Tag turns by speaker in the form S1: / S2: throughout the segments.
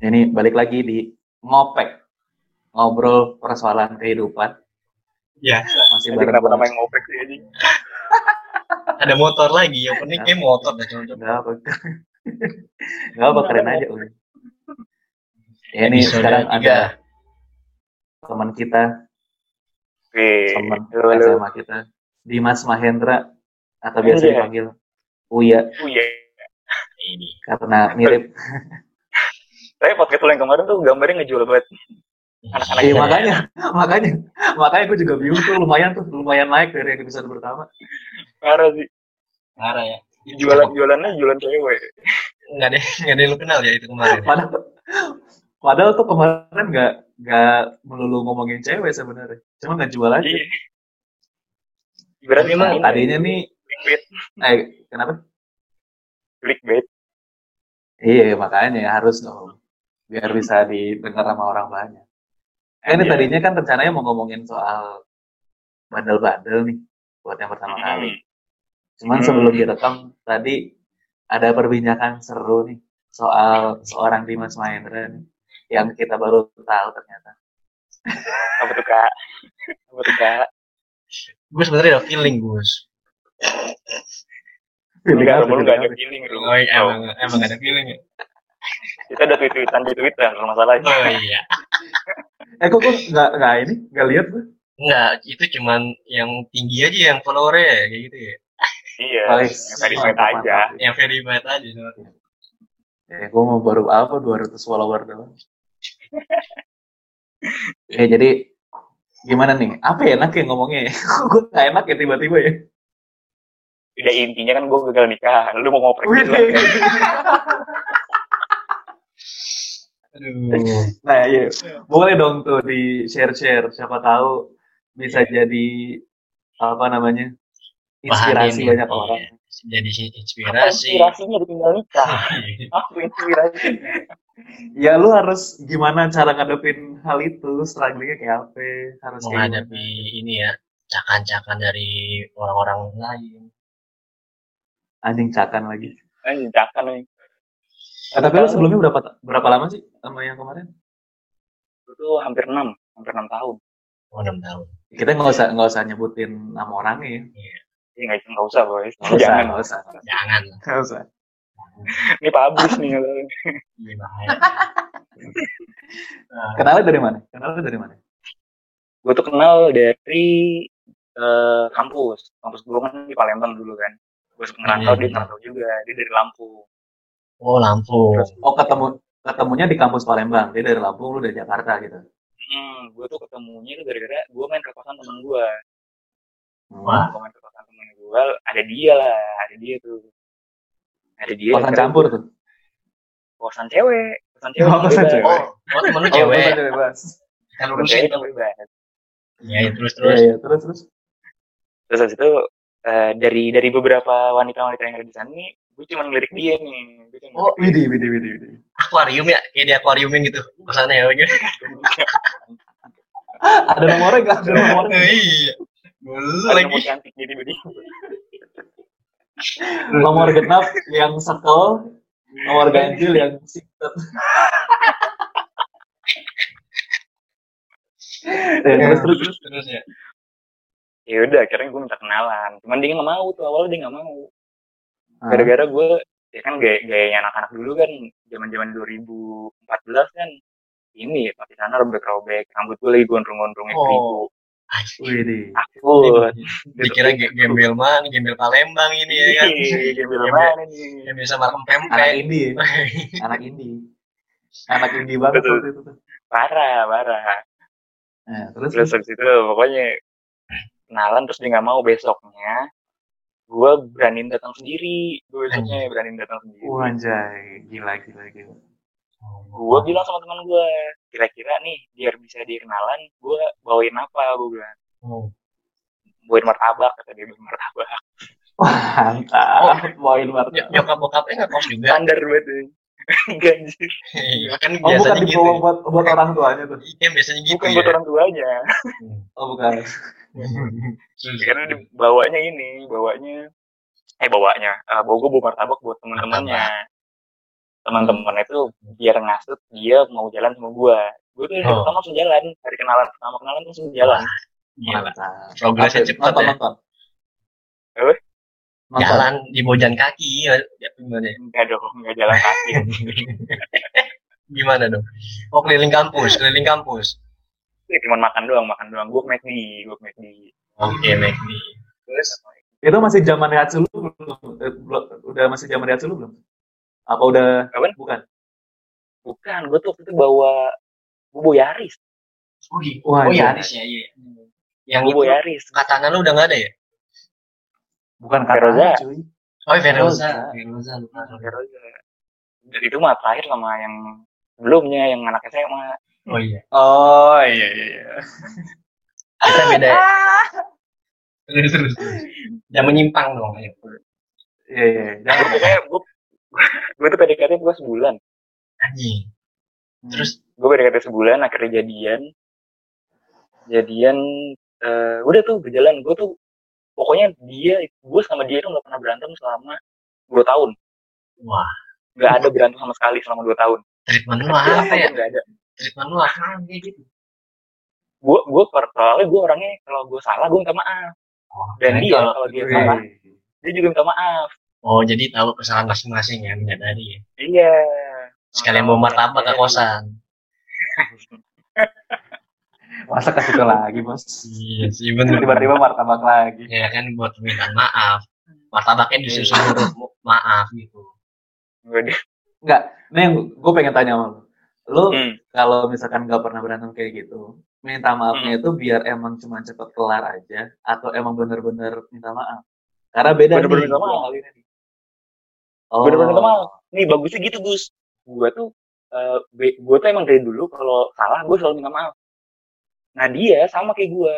S1: Nah, Ini balik lagi di ngopek ngobrol persoalan kehidupan
S2: Ya,
S1: masih
S3: Jadi
S1: bareng
S3: kenapa
S1: gue.
S3: namanya ngopek sih ini?
S2: ada motor lagi. Yang penting kayak motor dah cocok.
S1: Gak apa, nggak apa keren aja Uli. Ya, ini
S2: Episode
S1: sekarang
S2: tiga.
S1: ada teman kita,
S3: Nih,
S1: teman
S3: lu lu.
S1: SMA kita, Dimas Mahendra atau biasa
S3: Iya.
S1: dipanggil Uya
S3: Oh iya.
S2: Ini.
S1: karena mirip.
S3: Tapi podcast lu yang kemarin tuh gambarnya ngejual banget. Anak-anak
S1: Eh,
S3: Iya.
S1: makanya, makanya, makanya gue juga bingung tuh lumayan tuh lumayan naik dari episode pertama.
S3: Parah sih.
S2: Parah ya.
S3: Jualan jualannya jualan cewek.
S2: Nggak ada, nggak ada yang lu kenal ya itu kemarin. ya?
S1: Padahal, padahal tuh kemarin nggak nggak melulu ngomongin cewek sebenarnya, cuma nggak jual aja.
S3: Iya. Berarti
S2: Emang
S1: Nah, tadinya nih,
S3: clickbait,
S1: eh, kenapa?
S3: clickbait.
S1: Iya, makanya harus dong. Biar bisa didengar sama orang banyak. Eh, ini
S3: Iya.
S1: tadinya kan rencananya mau ngomongin soal bandel-bandel nih buat yang pertama
S3: Nah,
S1: kali. Cuman
S3: Hmm.
S1: sebelum direkam tadi ada perbincangan seru nih soal seorang Dimas Mahendra nih yang kita baru tahu ternyata.
S3: Apa tuh kak? Apa tuh kak?
S2: Gue sebenarnya ada feeling gus.
S3: Ini kan
S1: Apa,
S3: lu nggak ada
S1: apa?
S3: feeling lu.
S2: Oh, iya,
S3: Tahu.
S2: emang, emang ada feeling ya.
S3: Kita ada tweet-tweetan di Twitter masalahnya.
S2: Oh iya.
S1: Eh, kok gue nggak nggak ini nggak lihat gue.
S2: Enggak, itu cuman yang tinggi aja yang followernya ya, kayak gitu ya.
S3: Iya.
S1: Paling-
S3: Yang verified aja.
S1: mantap, mantap.
S2: Yang verified aja. sama.
S1: Eh, gue mau baru apa 200 follower doang. ya jadi gimana nih? Apa ya enak ya ngomongnya? gue gak enak ya tiba-tiba ya.
S3: Udah intinya kan gue gagal nikah. Lu mau ngoprek
S1: Wih, iya.
S3: gitu kan?
S2: Aduh.
S1: nah, iya. boleh dong tuh di share-share. Siapa tahu bisa jadi apa namanya inspirasi
S2: Iya. Bahan ini.
S1: banyak orang.
S2: Iya, Jadi si- inspirasi.
S3: Inspirasinya ditinggal nikah. Aku inspirasi.
S1: Ya lu harus gimana cara ngadepin hal itu, strugglingnya kayak apa, harus kayak
S2: menghadapi ini ya cakan-cakan dari orang-orang lain.
S1: gimana. anjing cakan lagi.
S3: Anjing cakan nih.
S1: Eh, tapi lu sebelumnya berapa berapa lama sih sama yang kemarin?
S3: Itu hampir 6, hampir 6 tahun.
S2: Oh, 6 tahun.
S1: kita nggak usah nggak usah nyebutin nama orangnya ya.
S3: Iya nggak nggak usah boys.
S1: nggak usah
S3: Jangan.
S1: nggak usah
S2: Jangan lah.
S1: nggak usah
S3: Ini Pak Abus nih.
S2: Ini bahaya. Nah,
S1: kenalnya dari mana kenalnya dari mana
S3: Gue tuh kenal dari eh, kampus. Kampus gue kan di Palembang dulu kan. Gue ngerantau,
S2: Hmm.
S3: dia ngerantau juga. Dia dari Lampung.
S2: Oh, Lampung.
S3: Terus,
S1: oh ketemu ketemunya di kampus Palembang dia dari Lampung lu dari Jakarta gitu
S3: hmm, gue tuh ketemunya tuh gara-gara gue main ke kosan temen gue.
S1: hmm.
S2: Wah.
S3: Gue main ke kosan temen gue, ada dia lah. Ada dia tuh. Ada dia.
S1: kosan
S3: terus
S1: campur tuh
S3: Kosan cewek. Kosan cewek.
S1: Oh, kosan
S3: bebas.
S1: cewek.
S2: Oh, oh
S1: oh,
S2: temen lu
S1: kosan
S2: cewek.
S1: cewek bebas
S2: Kan lu
S3: Kosan
S2: sih.
S3: cewek itu bebas.
S2: Ya, terus-terus.
S1: Iya, iya, terus terus
S3: terus habis itu eh, dari dari beberapa wanita-wanita yang ada di sana nih gue cuma ngelirik dia nih gue cuma
S2: Oh,
S1: Widi Widi Widi Widi
S2: Akuarium ya? Kayak di akuariumin gitu. Kesannya ya. gitu.
S1: ada nomornya nggak ada nomornya
S2: Iya. Dulu
S3: Ada
S2: lagi.
S3: nomor cantik jadi jadi
S1: nomor genap yang sekel nomor ganjil yang singkat Eh, terus terus terus.
S2: terus ya.
S3: ya udah akhirnya gue minta kenalan cuman dia nggak mau tuh awalnya dia nggak mau
S1: Ah,
S3: gara-gara gue ya kan gaya gayanya anak-anak dulu kan zaman zaman 2014 kan ini pakai sana robek-robek rambut gue lagi gondrong-gondrongnya
S2: Oh.
S3: keribu
S2: Anjing.
S1: Widi
S3: aku
S2: Dikira ge- gembel man, gembel Palembang ini ya kan.
S3: Iya,
S2: Yang biasa markem
S1: anak
S2: pempek.
S1: indie ya. anak indie anak indie banget
S3: Betul.
S1: waktu itu tuh
S3: parah parah
S1: nah, terus,
S3: terus habis itu pokoknya kenalan terus dia nggak mau besoknya gue beraniin datang sendiri gue besoknya beraniin datang sendiri
S1: wah anjay gila gila gila
S2: Oh,
S3: gue bilang sama teman gue kira-kira nih biar bisa dia kenalan gue bawain apa gue bilang
S2: Oh.
S3: bawain martabak kata dia bawain martabak
S2: Ya.
S1: wah mantap poin Oh, martabak
S2: Nyokap bokapnya nggak kos juga.
S3: standar banget ini. enggak anjir
S2: Iya, kan
S1: oh bukan
S2: biasanya gitu.
S1: dibawa buat buat orang tuanya tuh
S2: Iya, biasanya gitu.
S3: bukan
S2: ya.
S3: buat orang tuanya
S1: oh bukan
S2: Terus,
S3: Iya, karena dia bawanya ini bawanya eh bawanya Eh bawa gue bawa martabak buat teman-temannya teman-teman itu biar ngasut dia mau jalan sama gua gue tuh dari
S2: Oh.
S3: pertama langsung jalan dari kenalan pertama kenalan langsung jalan
S2: Gila.
S1: Mantap.
S2: Progresnya
S1: Oke,
S2: cepat
S1: nonton,
S2: ya.
S1: Nonton.
S3: Apa?
S1: Nonton.
S2: Jalan di bojan kaki ya, ya, gimana, ya?
S3: enggak dong enggak jalan kaki
S2: gimana dong? Oh keliling kampus, keliling kampus.
S3: cuma makan doang makan doang gue ke McD gue ke McD
S2: Oke, Mek nih.
S3: terus
S1: Itu masih zaman Hatsu lu belum? Eh, belum- Udah masih zaman Hatsu lu belum? Apa udah?
S3: Kapan?
S1: Bukan.
S3: bukan gue tuh waktu itu bawa Bobo Yaris
S2: Oh, iya.
S1: Wah,
S2: oh
S1: iya.
S2: Yaris ya, iya. Yang
S3: Bobo
S2: itu
S3: Yaris
S2: katana lu udah nggak ada ya?
S1: Bukan
S3: Feroza.
S1: kata cuy.
S2: Oh,
S1: Veroza.
S2: Veroza, Veroza lupa.
S3: dari itu mah terakhir sama yang sebelumnya yang anak SMA
S2: Oh iya.
S3: oh iya iya iya
S2: Kita beda. ya? Terus terus. terus. Jangan menyimpang dong. ayo.
S1: Iya, iya.
S3: gue
S1: Jangan.
S3: gue gue tuh PDKT gue sebulan
S2: Anjing. Terus
S3: gue PDKT sebulan akhirnya jadian jadian eh, udah tuh berjalan gue tuh pokoknya dia gue sama dia tuh nggak pernah berantem selama dua tahun
S2: Wah.
S3: nggak ada berantem sama sekali selama dua tahun
S2: treatment lu apa ya?
S3: nggak ada
S2: Treatment lu apa kayak gitu?
S3: gue gue per- soalnya gue orangnya kalau gue salah gue minta maaf
S2: Oh,
S3: dan
S2: jadi
S3: dia
S2: kalau-
S3: kalau dia
S1: Wih.
S3: salah dia juga minta maaf
S2: Oh, jadi tahu kesalahan masing-masing ya, menyadari ya.
S3: iya
S2: Sekalian mau martabak ke kosan.
S1: Masa ke situ lagi, Bos?
S2: Iya sih, bener.
S1: Tiba-tiba martabak lagi.
S2: ya kan buat permintaan maaf martabaknya disusun untuk maaf gitu
S3: Gua di-
S1: Ini yang gue pengen tanya sama lu. Lu
S3: Hmm.
S1: kalau misalkan nggak pernah berantem kayak gitu, minta
S3: Hmm.
S1: maafnya itu biar emang cuma cepet kelar aja, atau emang bener-bener minta maaf? Karena beda nih,
S3: Bener-bener minta maaf.
S1: dua hal ini nih. Oh.
S3: Bener-bener minta maaf. nih bagusnya gitu Gus gue tuh gue tuh emang dari dulu kalau salah gue selalu minta maaf nah dia sama kayak gue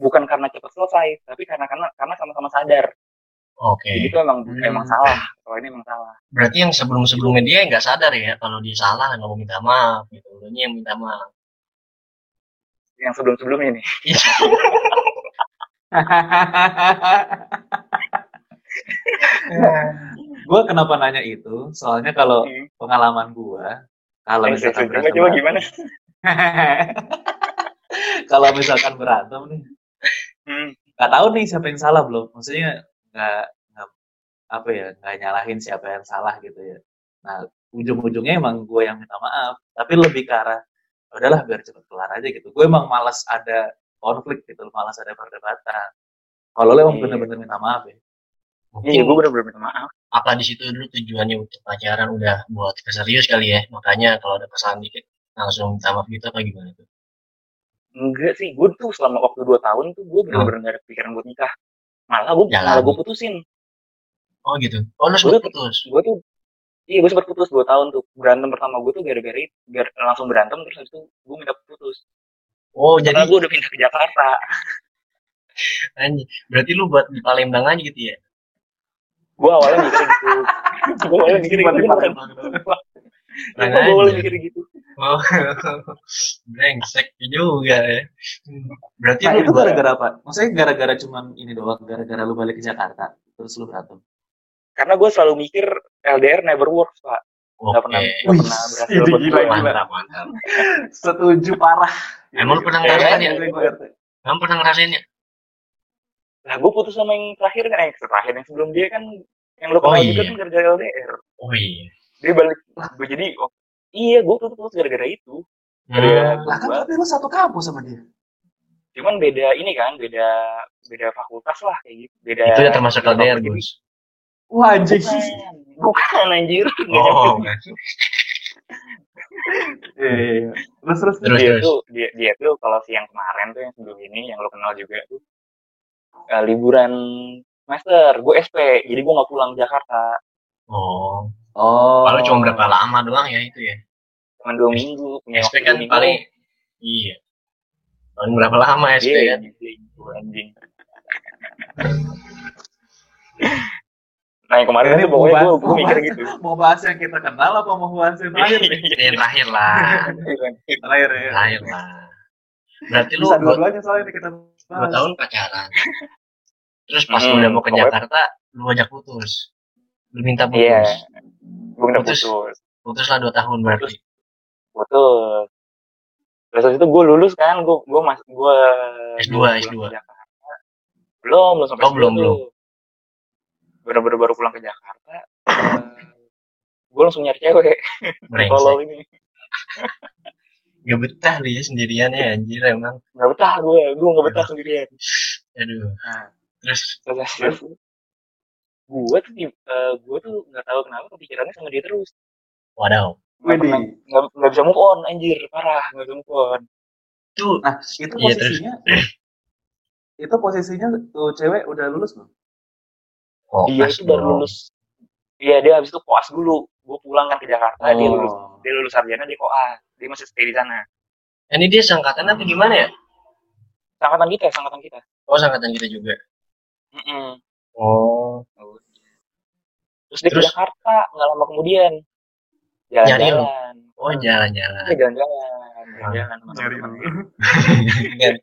S3: bukan karena cepat selesai tapi karena karena karena sama-sama sadar
S2: oke
S3: jadi itu emang
S1: Hmm.
S3: emang salah kalau ini emang salah
S2: berarti yang sebelum sebelumnya dia nggak sadar ya kalau dia salah nggak mau minta maaf gitu Lu nya yang minta maaf
S3: yang sebelum sebelumnya nih
S2: Iya.
S1: gue kenapa nanya itu? Soalnya kalau
S3: Hmm.
S1: pengalaman gue, kalau
S3: Yang
S1: misalkan
S3: sebelum- coba
S1: berantem,
S3: gimana
S1: kalau misalkan berantem nih,
S3: Hmm.
S1: nggak tahu nih siapa yang salah belum maksudnya nggak nggak apa ya nggak nyalahin siapa yang salah gitu ya nah ujung-ujungnya emang gue yang minta maaf tapi lebih ke arah "Ya udahlah biar cepet kelar aja gitu gue emang malas ada konflik gitu malas ada perdebatan kalau lo emang
S3: Iya.
S1: bener-bener minta maaf ya
S3: iya gue
S2: mungkin
S3: bener-bener minta maaf
S2: apa di situ dulu tujuannya untuk pacaran udah buat keserius kali ya makanya kalau ada kesalahan dikit langsung minta maaf gitu apa gimana tuh
S3: enggak sih gue tuh selama waktu dua tahun tuh gue bener-bener nggak ada pikiran buat nikah malah gue
S2: Jalan.
S3: malah gue putusin
S2: oh gitu oh lu sempat
S3: Gua-
S2: putus
S3: gue tuh iya gue sempat putus dua tahun tuh berantem pertama gue tuh gara-gara itu, gar- langsung berantem terus habis itu gue minta putus
S2: oh
S3: jadi
S2: jadi gitu,
S3: gue udah pindah ke Jakarta
S2: anjing. berarti lu buat di Palembang aja gitu ya
S3: gue awalnya mikir gitu gue awalnya mikir gitu
S1: Tiba-tiba
S3: gue awalnya mikir gitu
S2: Oh, brengsek juga ya. Berarti
S1: nah
S2: lu
S1: itu
S2: dua-
S1: gara-gara apa maksudnya gara-gara cuman ini doang gara-gara lu balik ke Jakarta terus lu berantem
S3: karena gue selalu mikir LDR never works pak
S2: Oke.
S3: nggak pernah nggak
S1: Wih,
S3: pernah berhasil
S1: ide
S3: buat
S1: gila,
S3: gua.
S1: gila.
S2: Mantap, mantap.
S1: setuju parah
S2: Emang lu pernah
S1: Eh,
S2: ngerasain ya?
S1: gue- gue ngerti.
S2: Kamu pernah ngerasain ya?
S3: nah gue putus sama yang terakhir kan eh, terakhir yang sebelum dia kan yang lo kenal
S2: Oh, iya.
S3: juga kan gara-gara LDR
S2: Oh iya.
S3: dia balik gue jadi oh, iya gue tuh putus gara-gara itu Iya.
S2: Hmm.
S1: lah kan tapi lu satu kampus sama dia
S3: cuman beda ini kan beda beda fakultas lah kayak gitu beda
S2: Itu ya termasuk
S3: beda
S2: LDR,
S3: fakultas.
S2: Gus.
S1: wah anjing
S3: bukan bukan anjir Nggak
S2: Oh,
S3: nyampe.
S1: Iya, iya, iya. terus terus
S2: terus
S3: dia
S2: terus.
S3: tuh dia, dia tuh kalau siang kemarin tuh yang sebelum ini yang lo kenal juga tuh eh, liburan master gue SP jadi gue nggak pulang Jakarta
S2: Oh,
S1: oh
S2: paling cuma berapa lama doang ya itu ya?
S3: cuma dua
S2: S-
S3: minggu punya
S2: SP
S3: waktu
S2: kan
S3: dua minggu.
S2: paling iya. Paling berapa lama
S3: Iya,
S2: SP
S3: iya,
S2: kan?
S3: iya, iya, anjing nah yang kemarin
S1: Ini
S3: tuh pokoknya
S1: mau bahas-
S3: gue gue
S1: mau
S3: mikir
S1: bahas-
S3: gitu
S1: mau bahas yang kita kenal apa mau bahas yang terakhir nih?
S2: Yang terakhir
S3: Iya.
S2: lah.
S1: terakhir ya
S2: Terakhir lah. Berarti Nah, lu
S1: bisa
S2: dua-
S1: dua-duanya soalnya nih kita
S2: dua
S1: bahas
S2: tahun pacaran terus pas
S3: Hmm,
S2: lu udah mau ke
S3: pokoknya-
S2: Jakarta lu ajak putus lu minta putus
S3: Iya. gue udah
S2: Putus.
S3: putus
S2: Putuslah dua tahun berarti.
S3: putus terus habis itu gue lulus kan gue gue mas gue
S2: S2,
S3: pulang
S2: S2.
S3: ke Jakarta. belum belum sampai
S2: Oh, belum,
S3: situ.
S2: belum.
S3: bener-bener baru pulang ke Jakarta gue langsung nyari cewek
S2: Brengsek.
S3: kalau ini
S2: Gak betah lu ya sendirian ya anjir emang.
S3: nggak betah gue gue nggak
S2: Iya.
S3: betah sendirian
S2: Aduh.
S3: Nah.
S2: Terus
S3: terus gue tuh gue tuh nggak tahu kenapa kepikirannya sama dia terus
S2: wadaw.
S3: Nggak
S1: Widih.
S3: pernah- nggak nggak bisa move on anjir parah nggak bisa move on
S2: Itu
S1: Nah, itu
S2: Iya,
S1: posisinya itu posisinya tuh cewek udah lulus belum?
S3: dia
S2: kokas
S3: itu baru
S2: dong.
S3: lulus iya dia habis itu koas dulu gue pulang kan ke Jakarta dia lulus
S1: Oh.
S3: dia lulus sarjana dia koas dia masih stay di sana
S2: Ini dia sangkatan apa gimana ya?
S3: sangkatan kita sangkatan kita
S2: Oh, sangkatan kita juga.
S3: Mm-mm.
S2: Oh.
S3: terus dia
S2: Terus?
S3: ke Jakarta nggak lama kemudian
S2: Nyari lu?
S3: jalan-jalan
S2: Oh, jalan-jalan.
S3: Eh, jalan-jalan
S2: Ah,
S3: jalan-jalan sama teman-teman.
S2: Kan.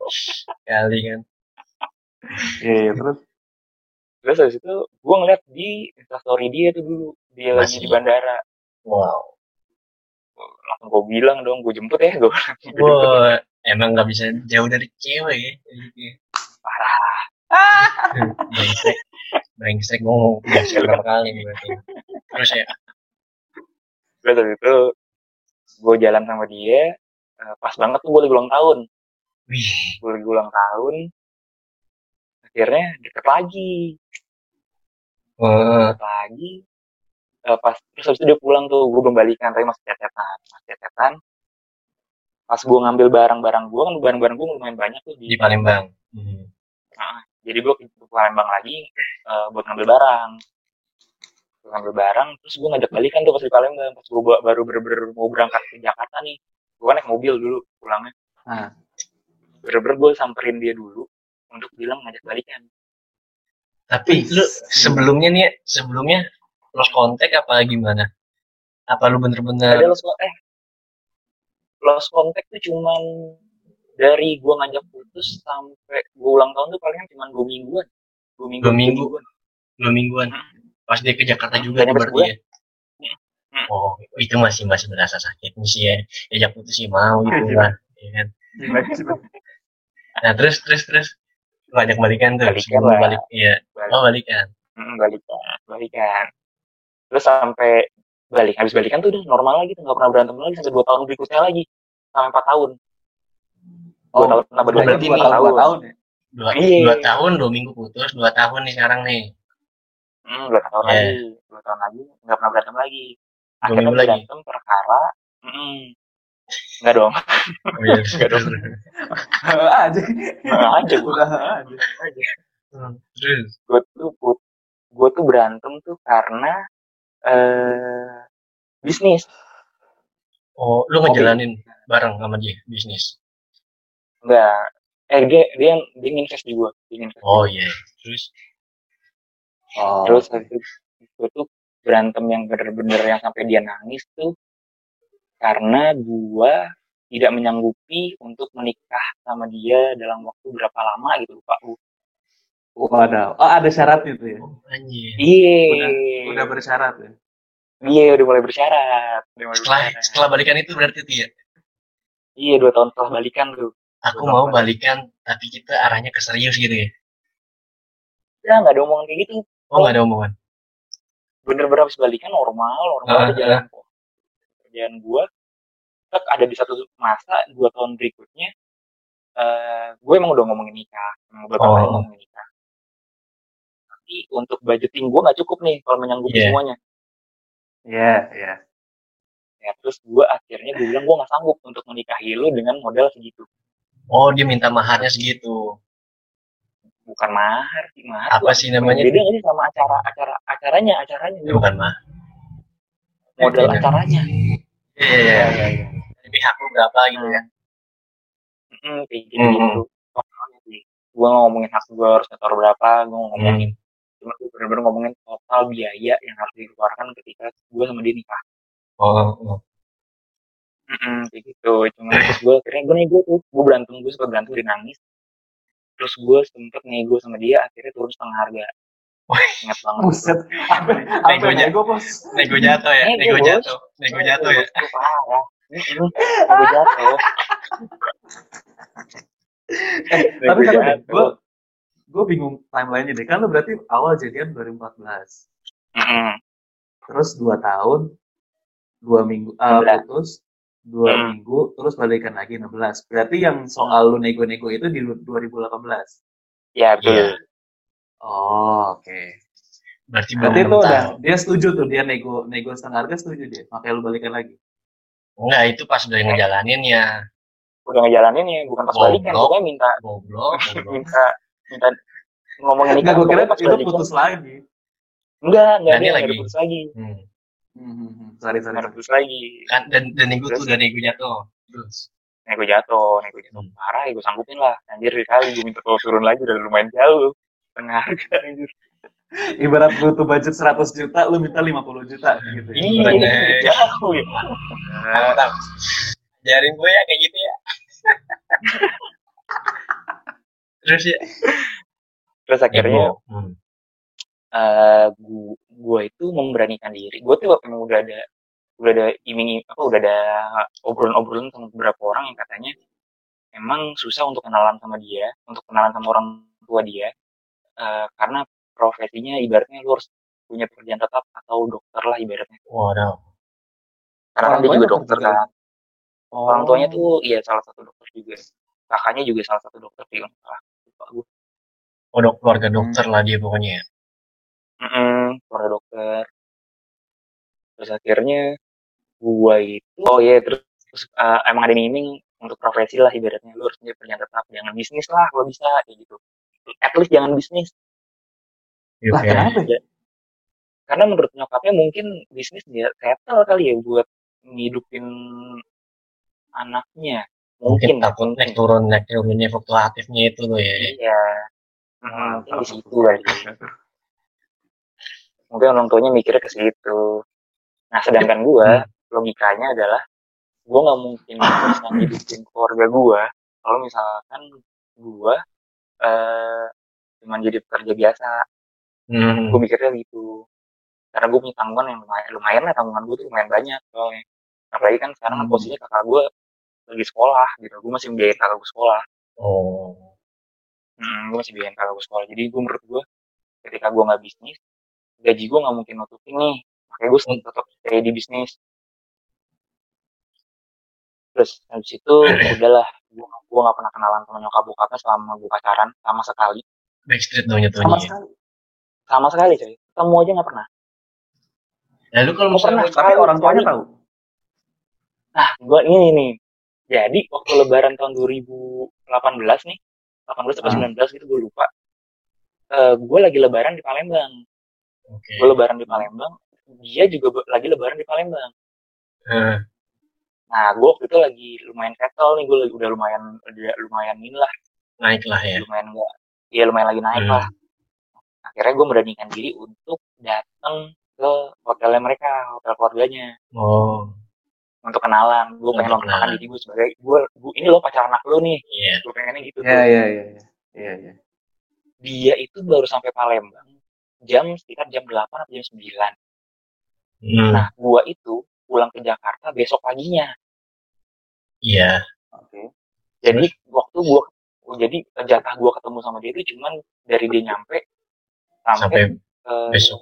S2: Kali kan.
S1: Iya, iya, terus
S3: terus habis itu gue ngeliat di instastory dia tuh dulu dia
S2: Masih.
S3: lagi di bandara
S2: Wow.
S3: langsung gue bilang dong gue jemput ya gue
S2: Wow. Emang gak bisa jauh dari cewek ya.
S3: parah
S2: Brengsek. Brengsek ngomong. Brengsek berapa kali nih berarti. Terus ya.
S3: terus habis itu gue jalan sama dia eh, pas banget tuh gue lagi ulang tahun
S2: Wih.
S3: gue lagi ulang tahun akhirnya deket lagi
S2: Wah.
S3: deket lagi Eh, pas terus habis itu dia pulang tuh gue belum balikan tapi masih cetetan masih cetetan pas gue ngambil barang-barang gue kan barang-barang gue lumayan banyak tuh di,
S2: Di Palembang. Hmm.
S3: jadi gue ke ke Palembang lagi eh, buat ngambil barang Gua ngambil barang terus gue ngajak balikan tuh pas di Palembang pas gue baru bener-bener mau berangkat ke Jakarta nih gue naik mobil dulu pulangnya
S1: Ah.
S3: bener-bener gue samperin dia dulu untuk bilang ngajak balikan
S2: Tapi lu sebelumnya nih, ya, sebelumnya lost kontak apa gimana? Apa lu
S3: ada
S2: bener-bener
S3: lost contact eh lost contact tuh cuman dari gua ngajak putus sampai gua ulang tahun tuh palingan cuman dua mingguan dua minggu
S2: Dua minggu. dua mingguan?
S3: Mm-hmm.
S2: Pas dia ke Jakarta juga
S3: Kayaknya
S2: tuh
S3: pas
S2: berarti ya?
S3: Mm-hmm.
S2: Oh, itu masih masih berasa sakit sih ya. Diajak putus sih mau
S3: Mm-hmm.
S2: gitu kan. Iya kan. Nah terus terus terus lu ngajak balikan tuh
S3: Balikan
S2: sebelum lu
S3: lah.
S2: balik iya
S3: Balik.
S2: oh balikan
S3: Mm, balikan balikan terus sampai balik habis balikan tuh udah normal lagi tuh nggak pernah berantem lagi sampai dua tahun berikutnya lagi sampai empat tahun dua
S1: Oh,
S3: tahun tambah dua
S1: berarti
S3: tahun
S2: berarti
S1: dua tahun, dua
S3: empat tahun
S1: tahun ya?
S2: dua,
S3: Iya.
S2: dua tahun dua minggu putus dua tahun nih sekarang nih
S3: Mm, dua tahun
S2: Iya.
S3: lagi dua tahun lagi nggak pernah berantem lagi
S2: Dua
S3: akhirnya
S2: minggu lagi.
S3: berantem perkara mm, nggak dong
S2: oh, iya.
S3: Enggak dong.
S1: Heeh aja.
S2: Nah,
S3: Heeh aja gua.
S1: Udah heeh aja.
S2: terus
S3: gue tuh gue tuh berantem tuh karena eh bisnis
S2: oh lu ngejalanin bareng sama dia bisnis
S3: enggak eh dia dia dia invest di gue dia invest
S2: oh iya terus
S1: Oh.
S3: terus gue tuh berantem yang bener-bener yang sampai dia nangis tuh karena gue tidak menyanggupi untuk menikah sama dia dalam waktu berapa lama gitu lupa gue
S1: Waduh. Oh, ada syaratnya tuh ya.
S2: oh, anjir
S3: iya
S1: Udah bersyarat ya.
S3: iya udah mulai bersyarat udah mulai
S2: setelah
S3: bersyarat.
S2: setelah balikan itu berarti tuh ya
S3: iya dua tahun setelah balikan tuh
S2: aku mau balikan tapi kita arahnya ke serius gitu ya
S3: ya nggak ada omongan kayak gitu
S2: oh nggak ada omongan
S3: bener-bener habis balikan normal, normal
S2: Ah,
S3: aja jalan kok. Kerjaan gua tek ada di satu masa dua tahun berikutnya eh gue emang udah ngomongin nikah, emang udah
S2: Oh.
S3: tahun ngomongin nikah. Tapi untuk budgeting gue nggak cukup nih kalau menyanggupi
S2: Iya.
S3: semuanya.
S1: Iya, iya.
S3: Ya, terus gue akhirnya gue bilang gue nggak sanggup untuk menikahi lu dengan modal segitu.
S2: oh dia minta maharnya segitu
S3: Bukan mahar, sih mahar.
S2: apa
S3: tuh
S2: sih namanya
S3: Beda nggak sih sama acara acara acaranya acaranya
S2: Eh, bukan mah
S3: modal
S2: beda.
S3: acaranya.
S2: iya iya iya tapi aku berapa gitu ya Hmm,
S3: Mm, kayak gitu gitu gue ngomongin hak gue harus nyetor berapa gue
S2: Mm.
S3: ngomongin cuma gue bener-bener ngomongin total biaya yang harus dikeluarkan ketika gue sama dia nikah
S2: oh, oh.
S3: Mm-mm, kayak gitu cuma terus gue akhirnya gue nego tuh gue berantem gue sempat berantem dia nangis terus gue sempet nego sama dia akhirnya turun setengah harga Ingat banget.
S1: Buset. Apa apa
S2: Nego
S1: nego bos?
S2: Nego jatuh ya, nego
S3: Nego, bos.
S2: jatuh, nego jatuh ya.
S3: Itu parah. Ini ini nego jatuh. Nego
S1: Tapi tapi
S3: jatuh.
S1: gue gue bingung timelinenya deh. Kan lu berarti awal jadian 2014.
S3: Mm-mm.
S1: terus dua tahun dua minggu eh,
S3: 16.
S1: putus dua
S3: Hmm.
S1: minggu terus balikan lagi 16 berarti yang soal lu nego-nego itu di 2018
S3: Ya betul.
S2: Iya.
S1: oh oke
S2: Berarti belum
S1: berarti itu
S2: enam
S1: udah
S2: tahun.
S1: dia setuju tuh dia nego nego setengah harga setuju dia makanya lu balikan lagi
S2: Enggak, itu pas udah ya. ngejalaninnya.
S3: Udah ngejalanin ya, bukan pas
S2: Goblok.
S3: balikan. Pokoknya minta
S2: Goblok, goblok.
S3: minta minta ngomongin
S1: enggak
S3: nikah.
S1: gue Nah, kira
S3: pokoknya pas
S1: itu
S3: balikan.
S1: putus lagi
S3: Enggak, enggak
S2: Nah, ini
S3: dia enggak
S2: lagi.
S3: putus lagi.
S2: Hmm.
S1: hmm, sorry sorry
S3: Enggak putus lagi.
S2: Kan, dan dan nego tuh
S3: Terus?
S2: udah nego jatuh. Terus.
S3: Nego jatuh, nego jatuh.
S2: Hmm.
S3: Parah ya gue sanggupin lah. Anjir kali gue minta kalau turun lagi udah lumayan jauh. Tengah harga anjir.
S1: ibarat butuh budget 100 juta lu minta 50 juta gitu ya.
S2: Iya. Bener.
S3: jauh ya.
S2: Mantap. Ajarin gue ya kayak gitu ya. Terus ya.
S3: Terus akhirnya
S2: Nego. Hmm.
S3: gue itu memberanikan diri gue tuh emang udah ada udah ada iming apa udah ada obrolan-obrolan sama beberapa orang yang katanya emang susah untuk kenalan sama dia untuk kenalan sama orang tua dia eh, karena profesinya ibaratnya lu harus punya pekerjaan tetap atau dokter lah ibaratnya
S2: Waduh.
S3: karena
S1: Orang
S3: dia
S1: tuanya
S3: juga
S1: dokter
S3: dokter
S1: juga?
S3: kan
S1: Oh.
S3: orang tuanya tuh iya salah satu dokter juga kakaknya juga salah satu dokter di Unpad. lupa gue
S2: Oh, dok, keluarga dokter lah dia pokoknya ya.
S3: Mm-mm, keluarga dokter. Terus akhirnya gua itu oh iya terus, terus, uh, emang ada miming untuk profesi lah ibaratnya lu harus punya pekerjaan tetap jangan bisnis lah kalau bisa kayak gitu. At least jangan bisnis
S2: Yuk,
S1: lah
S2: ya.
S1: kenapa ya?
S3: karena menurut nyokapnya mungkin bisnis dia settle kali ya buat ngidupin anaknya
S2: Mungkin
S3: mungkin ya.
S2: takut naik turun, naik turunnya fluktuatifnya itu loh ya.
S3: Iya. Hmm,
S1: Mantap.
S3: mungkin di situ kali. Mungkin orang tuanya mikirnya ke situ. Nah, sedangkan gua logikanya adalah gua nggak mungkin bisa ngidupin keluarga gua kalau misalkan gua eh cuman jadi pekerja biasa.
S2: Hmm.
S3: Gua mikirnya gitu. Karena gua punya tanggungan yang lumayan, lumayan lah tanggungan gua tuh lumayan banyak soalnya. Apalagi kan sekarang kan
S1: Hmm.
S3: posisinya kakak gua lagi sekolah gitu. Gua masih membiayain kakak gua sekolah.
S2: Oh.
S3: Hmm, gue masih biayain kakak gue sekolah. Jadi gue menurut gue, ketika gue nggak bisnis, gaji gue nggak mungkin nutupin nih. Makanya gue
S2: Hmm.
S3: tetap stay di bisnis. Terus habis itu ya udahlah, gue gue nggak pernah kenalan sama nyokap bokapnya selama gue pacaran sama sekali,
S2: Backstreet dong
S1: sama
S2: jatuhnya. ya.
S1: sekali
S3: sama sekali coy. Ketemu aja nggak pernah.
S2: Lalu kalau
S3: Gua
S2: misalnya
S3: pernah
S1: tapi orang tuanya tahu
S3: Nah, gue ini nih. Jadi waktu Lebaran tahun 2018 nih, 18 atau
S1: Ah.
S3: 19 gitu gue lupa. Eh gue lagi Lebaran di Palembang.
S2: Oke.
S3: gue lebaran di Palembang dia juga be- lagi lebaran di Palembang
S2: Eh,
S3: nah gue waktu itu lagi lumayan settle nih gue lagi udah lumayan udah lumayan ini lah
S2: naik lah ya.
S3: lumayan gak ya lumayan lagi naik
S2: Hmm.
S3: lah akhirnya gue beranikan diri untuk datang ke hotelnya mereka hotel keluarganya
S2: Oh.
S3: untuk kenalan gue pengen
S2: Untuk
S3: memperkenalkan
S2: kenalan.
S3: diri gue sebagai gue gue- ini lo pacar anak lo nih
S2: Iya.
S3: gue pengennya gitu
S1: iya
S3: tuh.
S1: iya iya iya. iya iya
S3: dia itu baru sampai Palembang jam sekitar jam 8 atau jam 9
S2: Hmm.
S3: nah gue itu pulang ke Jakarta besok paginya
S2: Iya.
S3: Oke. Jadi waktu gua jadi jatah gua ketemu sama dia itu cuman dari dia nyampe sampai,
S2: Sampai
S3: eh,
S2: besok.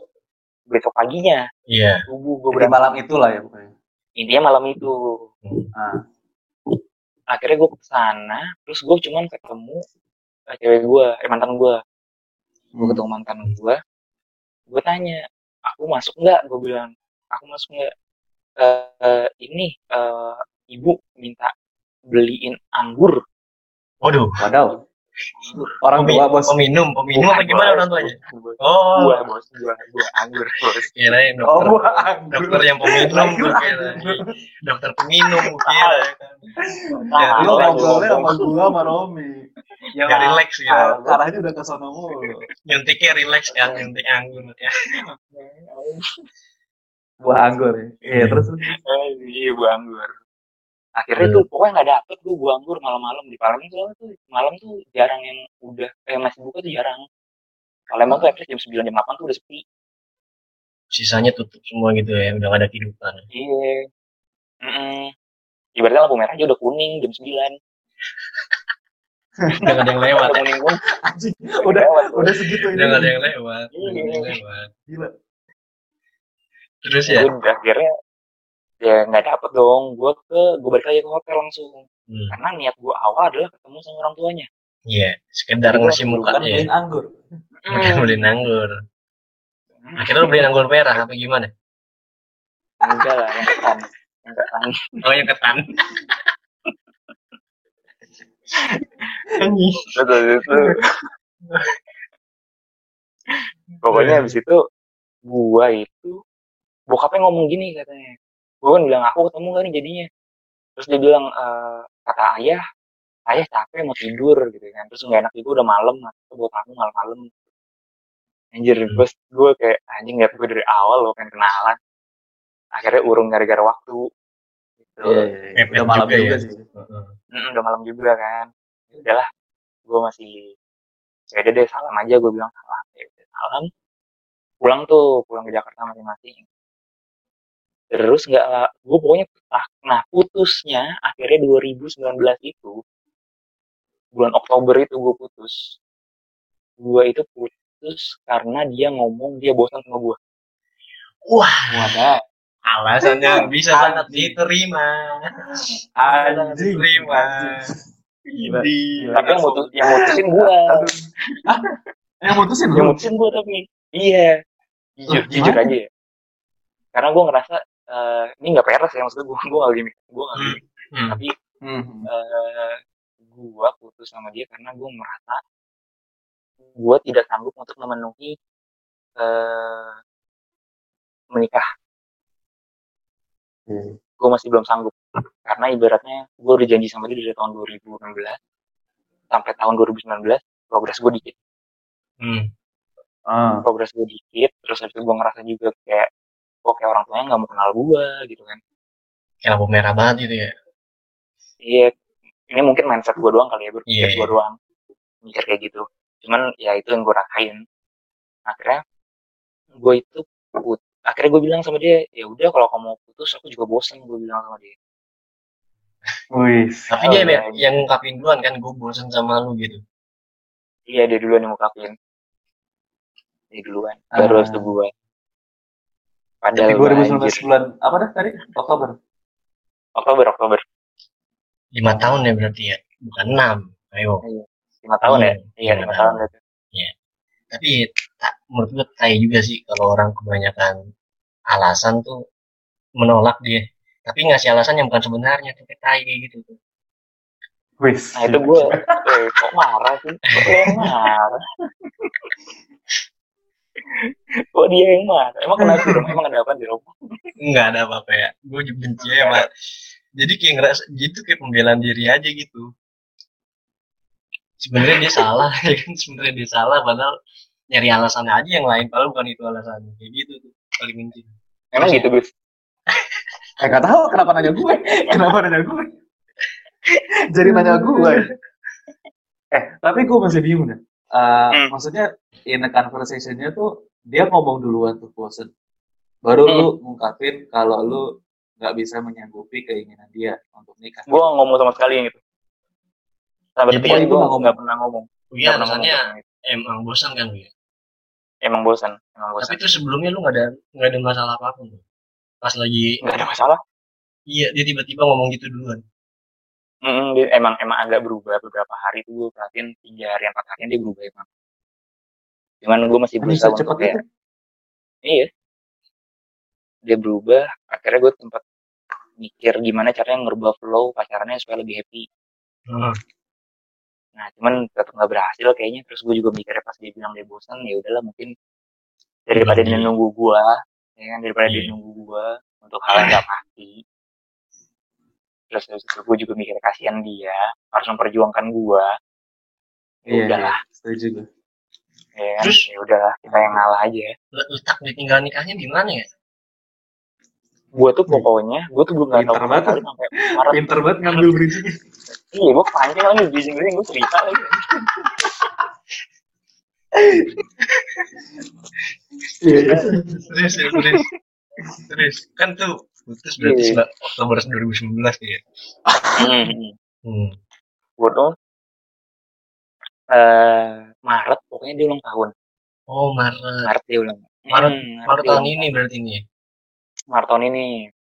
S3: besok paginya.
S2: Iya.
S3: Subuh gua
S1: Jadi
S3: berangkat.
S1: malam itulah ya pokoknya
S3: Intinya malam itu.
S2: Hmm.
S3: Nah,
S1: ah
S3: Akhirnya gua ke sana, terus gua cuman ketemu eh, cewek gua, eh, mantan gua. Gua
S2: Hmm.
S3: ketemu mantan gua. Gua tanya, "Aku masuk nggak?" Gua bilang, "Aku masuk nggak?" Eh, eh, ini eh, ibu minta beliin anggur.
S2: Waduh.
S1: Wadaw. Orang
S2: Pemi-
S1: tua bos.
S2: Peminum, peminum apa
S3: Bukan,
S2: gimana
S3: bos,
S2: orang tuanya?
S3: bukan.
S2: Oh,
S3: gua bos gua gua anggur bos
S2: kirain
S1: Oh,
S2: dokter,
S1: gua
S2: dokter
S1: anggur.
S2: yang peminum,
S1: Lagi
S2: gua
S1: lah.
S2: kira. dokter peminum, gua kira.
S3: Ah,
S1: Ya, Lu
S3: anggur.
S1: ngobrolnya sama gua sama Romi.
S2: Ya, ya relax ya,
S1: Ah, Arahnya udah ke sana mulu.
S2: nyuntiknya relax ya, nyuntik anggur ya.
S1: Buah anggur ya. Iya,
S2: Hmm.
S1: terus terus.
S3: Eh, iya gua anggur akhirnya tuh pokoknya nggak dapet gua gua anggur malam-malam di Palembang soalnya tuh malam tuh jarang yang udah eh masih buka tuh jarang Kalau emang tuh at least jam 9 jam 8 tuh udah sepi.
S2: sisanya tutup semua gitu ya udah gak ada kehidupan
S3: Iya. Mm-mm. Ibaratnya lampu merah aja udah kuning jam 9.
S2: udah gak ada yang lewat ya.
S3: Udah kuning pun
S1: Anjing, udah
S3: lewat.
S1: udah segitu
S2: udah
S1: ini.
S2: gak ada yang lewat udah nggak ada yang lewat
S1: Gila.
S2: terus ya
S1: Iya.
S3: Ya udah akhirnya ya nggak dapet dong. Gue ke gue balik lagi ke hotel langsung.
S2: Hmm,
S3: Karena niat gue awal adalah ketemu sama orang tuanya.
S2: iya sekedar
S3: Jadi
S2: ngasih
S3: gua
S2: muka
S1: Bukan
S2: ya
S1: kan beliin anggur.
S2: udah beliin anggur akhirnya lo beliin anggur merah apa gimana
S3: Enggak lah, yang ketan. Yang ketan.
S2: oh yang ketan Anjing.
S3: Terus habis itu pokoknya habis itu gua itu bokapnya ngomong gini katanya gua kan bilang aku ketemu kan jadinya terus dia bilang eh, kata ayah ayah capek mau tidur gitu kan terus nggak enak juga udah malam atau buat aku malam-malam anjir gue gue kayak anjing liat gue dari awal lo pengen kenalan akhirnya urung gara-gara waktu gitu.
S1: Iya, iya, iya.
S2: Mepet
S1: Udah malam
S2: juga
S1: juga,
S2: ya.
S1: sih.
S2: Heeh.
S3: Mm, udah malam juga kan. Ya udahlah, gue masih ya udah deh salam aja gue bilang salam. Ya udah, salam. Pulang tuh, pulang ke Jakarta masing-masing. Terus nggak, gue pokoknya ah, nah putusnya akhirnya 2019 itu bulan Oktober itu gue putus. Gue itu putus karena dia ngomong dia bosan sama gue.
S1: Wadah.
S2: alasannya bisa
S1: Anjing.
S2: sangat diterima sangat
S1: Anjing.
S2: diterima
S1: Gila.
S2: Ini.
S3: Tapi yang, mutus, yang mutusin gue,
S1: Yang mutusin
S3: yang
S1: lu.
S3: mutusin gue tapi iya. jujur,
S1: Lah,
S3: jujur
S1: gimana?
S3: aja ya karena gue ngerasa eh, ini nggak peres ya maksudnya gue gue gak gimmick gue gak gimmick
S2: Hmm.
S3: tapi
S1: Hmm.
S3: gue putus sama dia karena gue merasa gue tidak sanggup untuk memenuhi eh, menikah gue masih belum sanggup karena ibaratnya gue udah janji sama dia dari tahun 2016 sampai tahun 2019 progres gue dikit
S2: Hmm.
S1: Ah.
S3: progres gue dikit terus habis itu gue ngerasa juga kayak kok kayak orang tuanya nggak mau kenal gue gitu kan
S2: kayak lampu merah banget gitu ya
S3: Iya, ini mungkin mindset gue doang kali ya, berpikir
S2: Iya.
S3: gue doang. Mikir kayak gitu. Cuman ya itu yang gue rasain. Akhirnya gue itu put- akhirnya gue bilang sama dia, ya udah kalau kamu mau putus aku juga bosan gue bilang sama dia.
S1: Wih.
S2: tapi
S3: Oh,
S2: dia
S3: iya.
S2: yang- yang ngungkapin duluan kan gue bosen sama lu gitu
S3: Iya dia duluan yang ngungkapin. Dia duluan.
S1: Ah.
S3: Baru harus gue. Padahal
S1: Jadi
S3: gua anjir.
S1: 2019 bulan apa dah tadi? Oktober.
S3: Oktober Oktober
S2: lima tahun ya berarti ya bukan enam ayo
S3: lima tahun ya.
S2: Hmm,
S3: Iya
S2: lima
S3: lima tahun gitu.
S2: tapi tak, menurut gue tai juga sih kalau orang kebanyakan alasan tuh menolak dia tapi ngasih alasan yang bukan sebenarnya tapi tai kayak gitu tuh
S1: Wis.
S3: Nah itu gue, eh, kok marah sih? Kok dia yang marah? kok dia yang marah? Emang kenapa di rumah? Emang ada apa di rumah?
S2: nggak ada apa-apa ya gue benci ya Pak. jadi kayak ngerasa gitu kayak pembelaan diri aja gitu sebenarnya dia salah ya kan sebenarnya dia salah padahal nyari alasan aja yang lain padahal bukan itu alasannya kayak gitu tuh paling benci
S3: Emang gitu Gus?
S1: Eh nggak tahu kenapa nanya gue. Kenapa nanya gue? Jadi nanya gue. Eh tapi gue masih bingung deh. Eh,
S3: Hmm.
S1: Maksudnya in a conversation-nya tuh dia ngomong duluan tuh bosen. Baru
S3: Hmm.
S1: lu ngungkapin kalau lu nggak bisa menyanggupi keinginan dia untuk nikah.
S3: Gue nggak ngomong sama sekali yang itu. Sampai
S2: Jadi
S3: detik ini
S1: itu
S3: gue
S1: nggak ngomong.
S3: Iya, nggak pernah ngomong.
S2: iya
S3: Nggak pernah
S2: alasannya
S3: ngomong.
S2: emang bosan kan ya
S3: Emang bosan, emang bosan.
S2: tapi itu sebelumnya lu nggak ada nggak ada masalah apapun tuh. pas lagi
S3: Nggak ada masalah.
S2: iya dia tiba-tiba ngomong gitu duluan
S3: Mm-mm, dia- emang emang agak berubah beberapa hari tuh gue perhatiin tiga hari empat harian dia berubah emang. Cuman gue masih
S1: Bisa ya? cepat
S3: berusaha untuk kayak
S1: itu.
S3: Iya. Dia berubah. Akhirnya gue tempat mikir gimana caranya ngerubah flow pacarannya supaya lebih happy.
S2: Hmm.
S3: Nah, cuman tetap nggak berhasil kayaknya. Terus gue juga mikirnya pas dia bilang dia bosan, ya udahlah mungkin daripada dia
S2: Iya.
S3: nunggu gue, ya kan daripada dia
S2: Iya.
S3: nunggu gue untuk hal yang nggak pasti. Terus terus gue juga mikir kasihan dia harus memperjuangkan gue. Ya
S1: Iya.
S3: udahlah,
S1: Setuju gue.
S3: ya kan?
S2: iya. Terus-
S3: Ya udahlah, kita yang ngalah aja.
S2: Le- letak ditinggal nikahnya di mana ya
S3: Gue
S2: Iya.
S3: tuh pokoknya, gue tuh belum nggak tahu
S1: Pinter banget.
S3: kali sampai Maret
S1: Pinter banget ngambil bridging.
S3: Iya, gue panjang lagi bising bising gue cerita lagi. Iya.
S2: Serius, ya, serius. Serius. Kan tuh putus berarti
S3: Iya.
S2: yeah. Oktober 2019 dia.
S3: Hmm.
S2: Hmm.
S3: Gue dong. Eh, Maret pokoknya dia ulang tahun.
S2: Oh, Maret.
S3: Maret dia ulang.
S2: Maret-
S3: Hmm,
S2: Maret
S3: dia
S2: tahun
S3: ulang.
S2: ini berarti nih. ya?
S3: Maret tahun ini.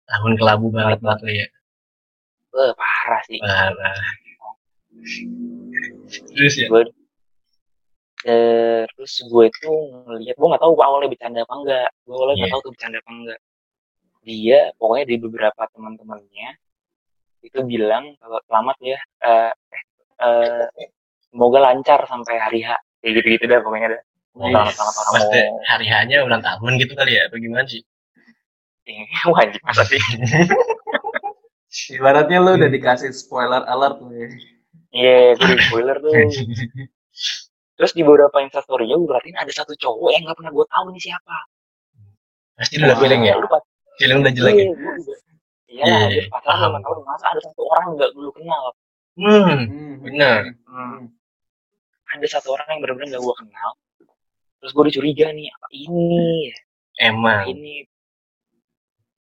S2: Tahun kelabu banget banget lo ya.
S3: Eh, parah sih.
S2: Parah. Serius ya?
S3: Gue terus gue itu ngeliat gue nggak tahu awalnya bercanda apa enggak gue awalnya nggak
S2: Iya.
S3: tahu tuh bercanda apa enggak dia pokoknya di beberapa teman-temannya itu bilang kalau selamat ya eh, eh,
S2: Iya.
S3: semoga lancar sampai hari H kayak gitu-gitu dah pokoknya dah
S1: Iya.
S2: Wih,
S3: selamat selamat orang
S2: Iya. Pasti hari hanya ulang tahun gitu kali ya? Bagaimana sih?
S3: mau Iya, wajib masa sih
S1: Ibaratnya lu udah dikasih spoiler alert ya. nih.
S3: iya itu di spoiler tuh terus di beberapa instastory nya gue perhatiin ada satu cowok yang nggak pernah gue tahu nih siapa
S2: Pasti udah
S1: Wah.
S2: feeling ya?
S3: Lupa
S2: Feeling udah jelek ya?
S3: Iya, gua juga. Iya,
S2: Iya,
S3: habis
S2: iya,
S3: pacaran
S2: paham.
S3: sama tahun masa ada satu orang yang nggak dulu kenal.
S2: Hmm. Bener.
S1: Hmm.
S3: Ada satu orang yang benar-benar nggak gue kenal. Terus gue udah curiga nih, apa ini? Apa
S2: Emang.
S3: ini?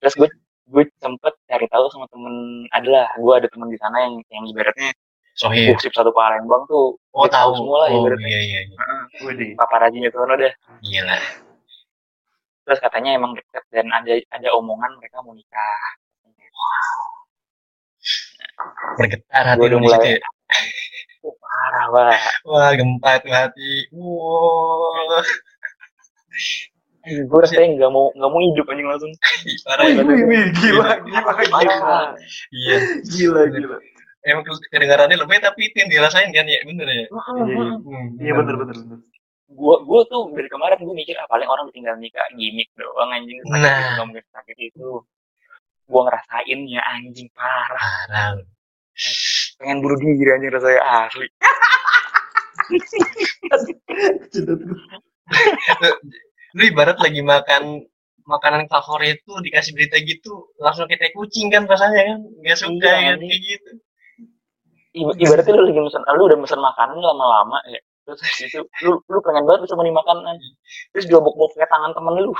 S3: Terus gue gue sempet cari tahu sama temen adalah gue ada temen di sana yang yang ibaratnya
S2: Sohib.
S3: yeah. satu Palembang tuh
S2: Oh,
S3: dia
S2: tahu.
S3: tahu semua lah
S2: Oh,
S3: ibaratnya.
S2: iya, iya. iya.
S1: Widih.
S3: paparazinya tuh udah
S2: Iya lah.
S3: terus katanya emang deket dan ada ada omongan mereka mau nikah
S2: Bergetar hati
S3: Gua
S2: lu
S3: udah
S2: di
S3: mulai-
S2: situ ya?
S3: oh, parah banget
S2: Wah, gempa tuh hati. Wah,
S1: Iya,
S3: gue rasanya nggak mau nggak mau hidup anjing langsung
S2: parah
S1: Wih,
S2: ya.
S1: wih, wih, gila, gila, gila,
S3: parah
S2: Iya.
S1: gila, gila.
S2: Emang kedengarannya lebih tapi itu yang dirasain kan ya, bener ya?
S1: Iya,
S3: Hmm,
S1: Iya, bener, bener, bener.
S3: gua gua tuh dari kemarin gua mikir ah paling orang tinggal nikah gimmick doang anjing sakit
S2: Nah.
S3: itu nggak mungkin sakit itu gua ngerasain ya anjing parah
S2: Parah. lu.
S3: pengen bunuh diri anjing rasanya asli
S1: Cedot gua.
S2: Lu ibarat lagi makan makanan favorit tuh dikasih berita gitu langsung kita kucing kan rasanya kan nggak suka
S3: Iya,
S2: kan
S3: anjing.
S2: kayak gitu
S3: I- ibaratnya lu lagi mesen lu udah mesen makanan lama-lama ya terus habis itu lu lu pengen banget bisa meni makanan terus diobok-obok ke tangan temen lu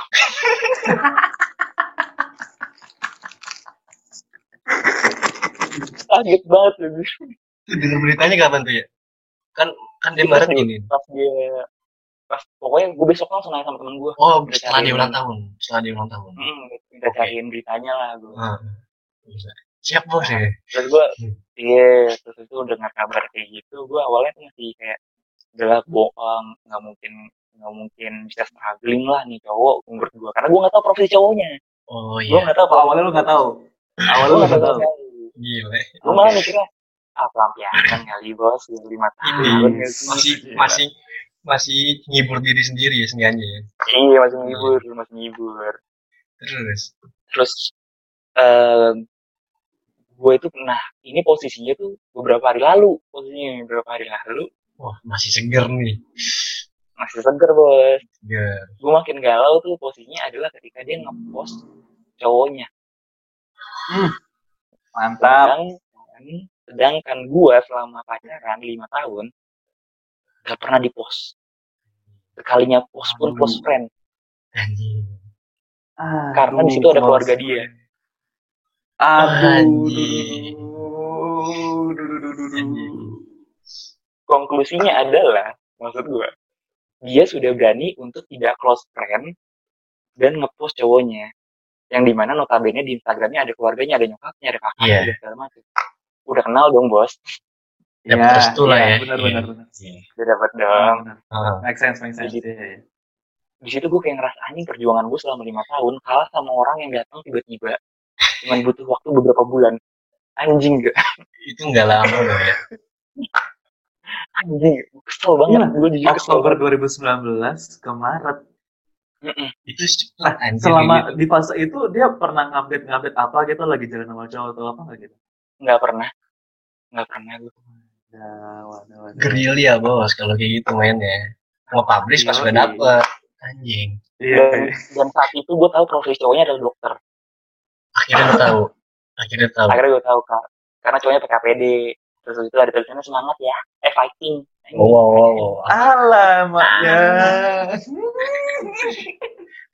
S3: kaget banget lu
S2: tuh denger beritanya kapan tuh ya kan kan dia
S3: Itu
S2: Maret
S3: sih.
S2: gini
S3: pas dia pas pokoknya gue besok langsung nanya sama temen gue
S2: oh
S3: Iya,
S2: setelah dia ulang tahun setelah dia ulang tahun
S3: Hmm, kita
S2: Oke.
S3: cariin beritanya lah gue.
S2: Ah, bisa. siap bos ya
S3: Terus gue,
S2: Hmm.
S3: iya, terus itu dengar kabar kayak gitu, gue awalnya tuh masih kayak, udahlah bohong, nggak mungkin nggak mungkin bisa struggling lah nih cowok umur gue karena gue nggak tahu profil cowoknya
S2: oh
S3: gue
S2: iya
S3: nggak tahu
S1: Oh, awalnya lu nggak tahu. Awalnya
S3: gue
S1: lu
S3: nggak
S1: nggak
S3: tahu
S1: tahu.
S2: gila
S3: gue malah mikirnya ah pelampiasan kali bos udah lima
S2: Ah,
S3: tahun
S1: Iya.
S3: gitu.
S2: masih
S1: Gila.
S2: masih masih ngibur diri sendiri ya sengaja ya
S3: iya masih ngibur masih ngibur
S2: terus
S3: terus eh gue itu pernah ini posisinya tuh beberapa hari lalu posisinya beberapa hari lalu
S2: wah masih seger nih
S3: masih seger bos
S2: seger
S3: gue makin galau tuh posisinya adalah ketika dia ngepost cowoknya
S1: Mantap.
S3: sedangkan kan, sedangkan gue selama pacaran lima tahun gak pernah dipost sekalinya post pun
S1: Aduh.
S3: post friend
S2: anjing
S1: Ah, Aduh,
S3: Karena di situ ada
S1: males.
S3: keluarga dia.
S1: Aduh.
S2: Anjing.
S1: duh, duh, duh, duh, duh.
S2: Anjing.
S3: konklusinya adalah maksud gue dia sudah berani untuk tidak close friend dan ngepost cowoknya yang dimana notabene di Instagramnya ada keluarganya ada nyokapnya ada kakaknya
S2: Iya.
S3: ada segala macam udah kenal dong bos
S2: Dapat restu lah ya.
S1: Benar,
S2: Iya.
S1: benar, benar.
S3: udah dapet dong
S1: Benar.
S2: Ah,
S1: Make sense, make sense. Iya, iya.
S3: di situ gue kayak ngerasa anjing perjuangan gue selama lima tahun kalah sama orang yang datang tiba-tiba cuman butuh waktu beberapa bulan anjing gak
S2: itu nggak lama loh ya
S3: anjing kesel banget
S1: Iya.
S3: gue jujur kesel
S1: Oktober
S3: banget
S1: 2019 ke Maret.
S3: Mm-mm.
S2: itu cepat anjing
S1: Selama di fase itu dia pernah ngupdate-ngupdate apa gitu lagi jalan sama cowok atau apa nggak gitu?
S3: nggak pernah nggak pernah gue
S1: Nah, waduh, waduh.
S2: gerilya ya, bos kalau kayak gitu mainnya mau publish pas udah
S1: Yoi.
S2: dapet anjing
S1: Iya.
S3: dan, dan saat itu gue tahu profesi cowoknya adalah dokter
S2: akhirnya lu tahu akhirnya tahu
S3: akhirnya gue tahu kak karena cowoknya pakai APD terus itu ada tulisannya semangat ya eh fighting
S2: Wow, wow, wow, wow.
S1: Alamaknya.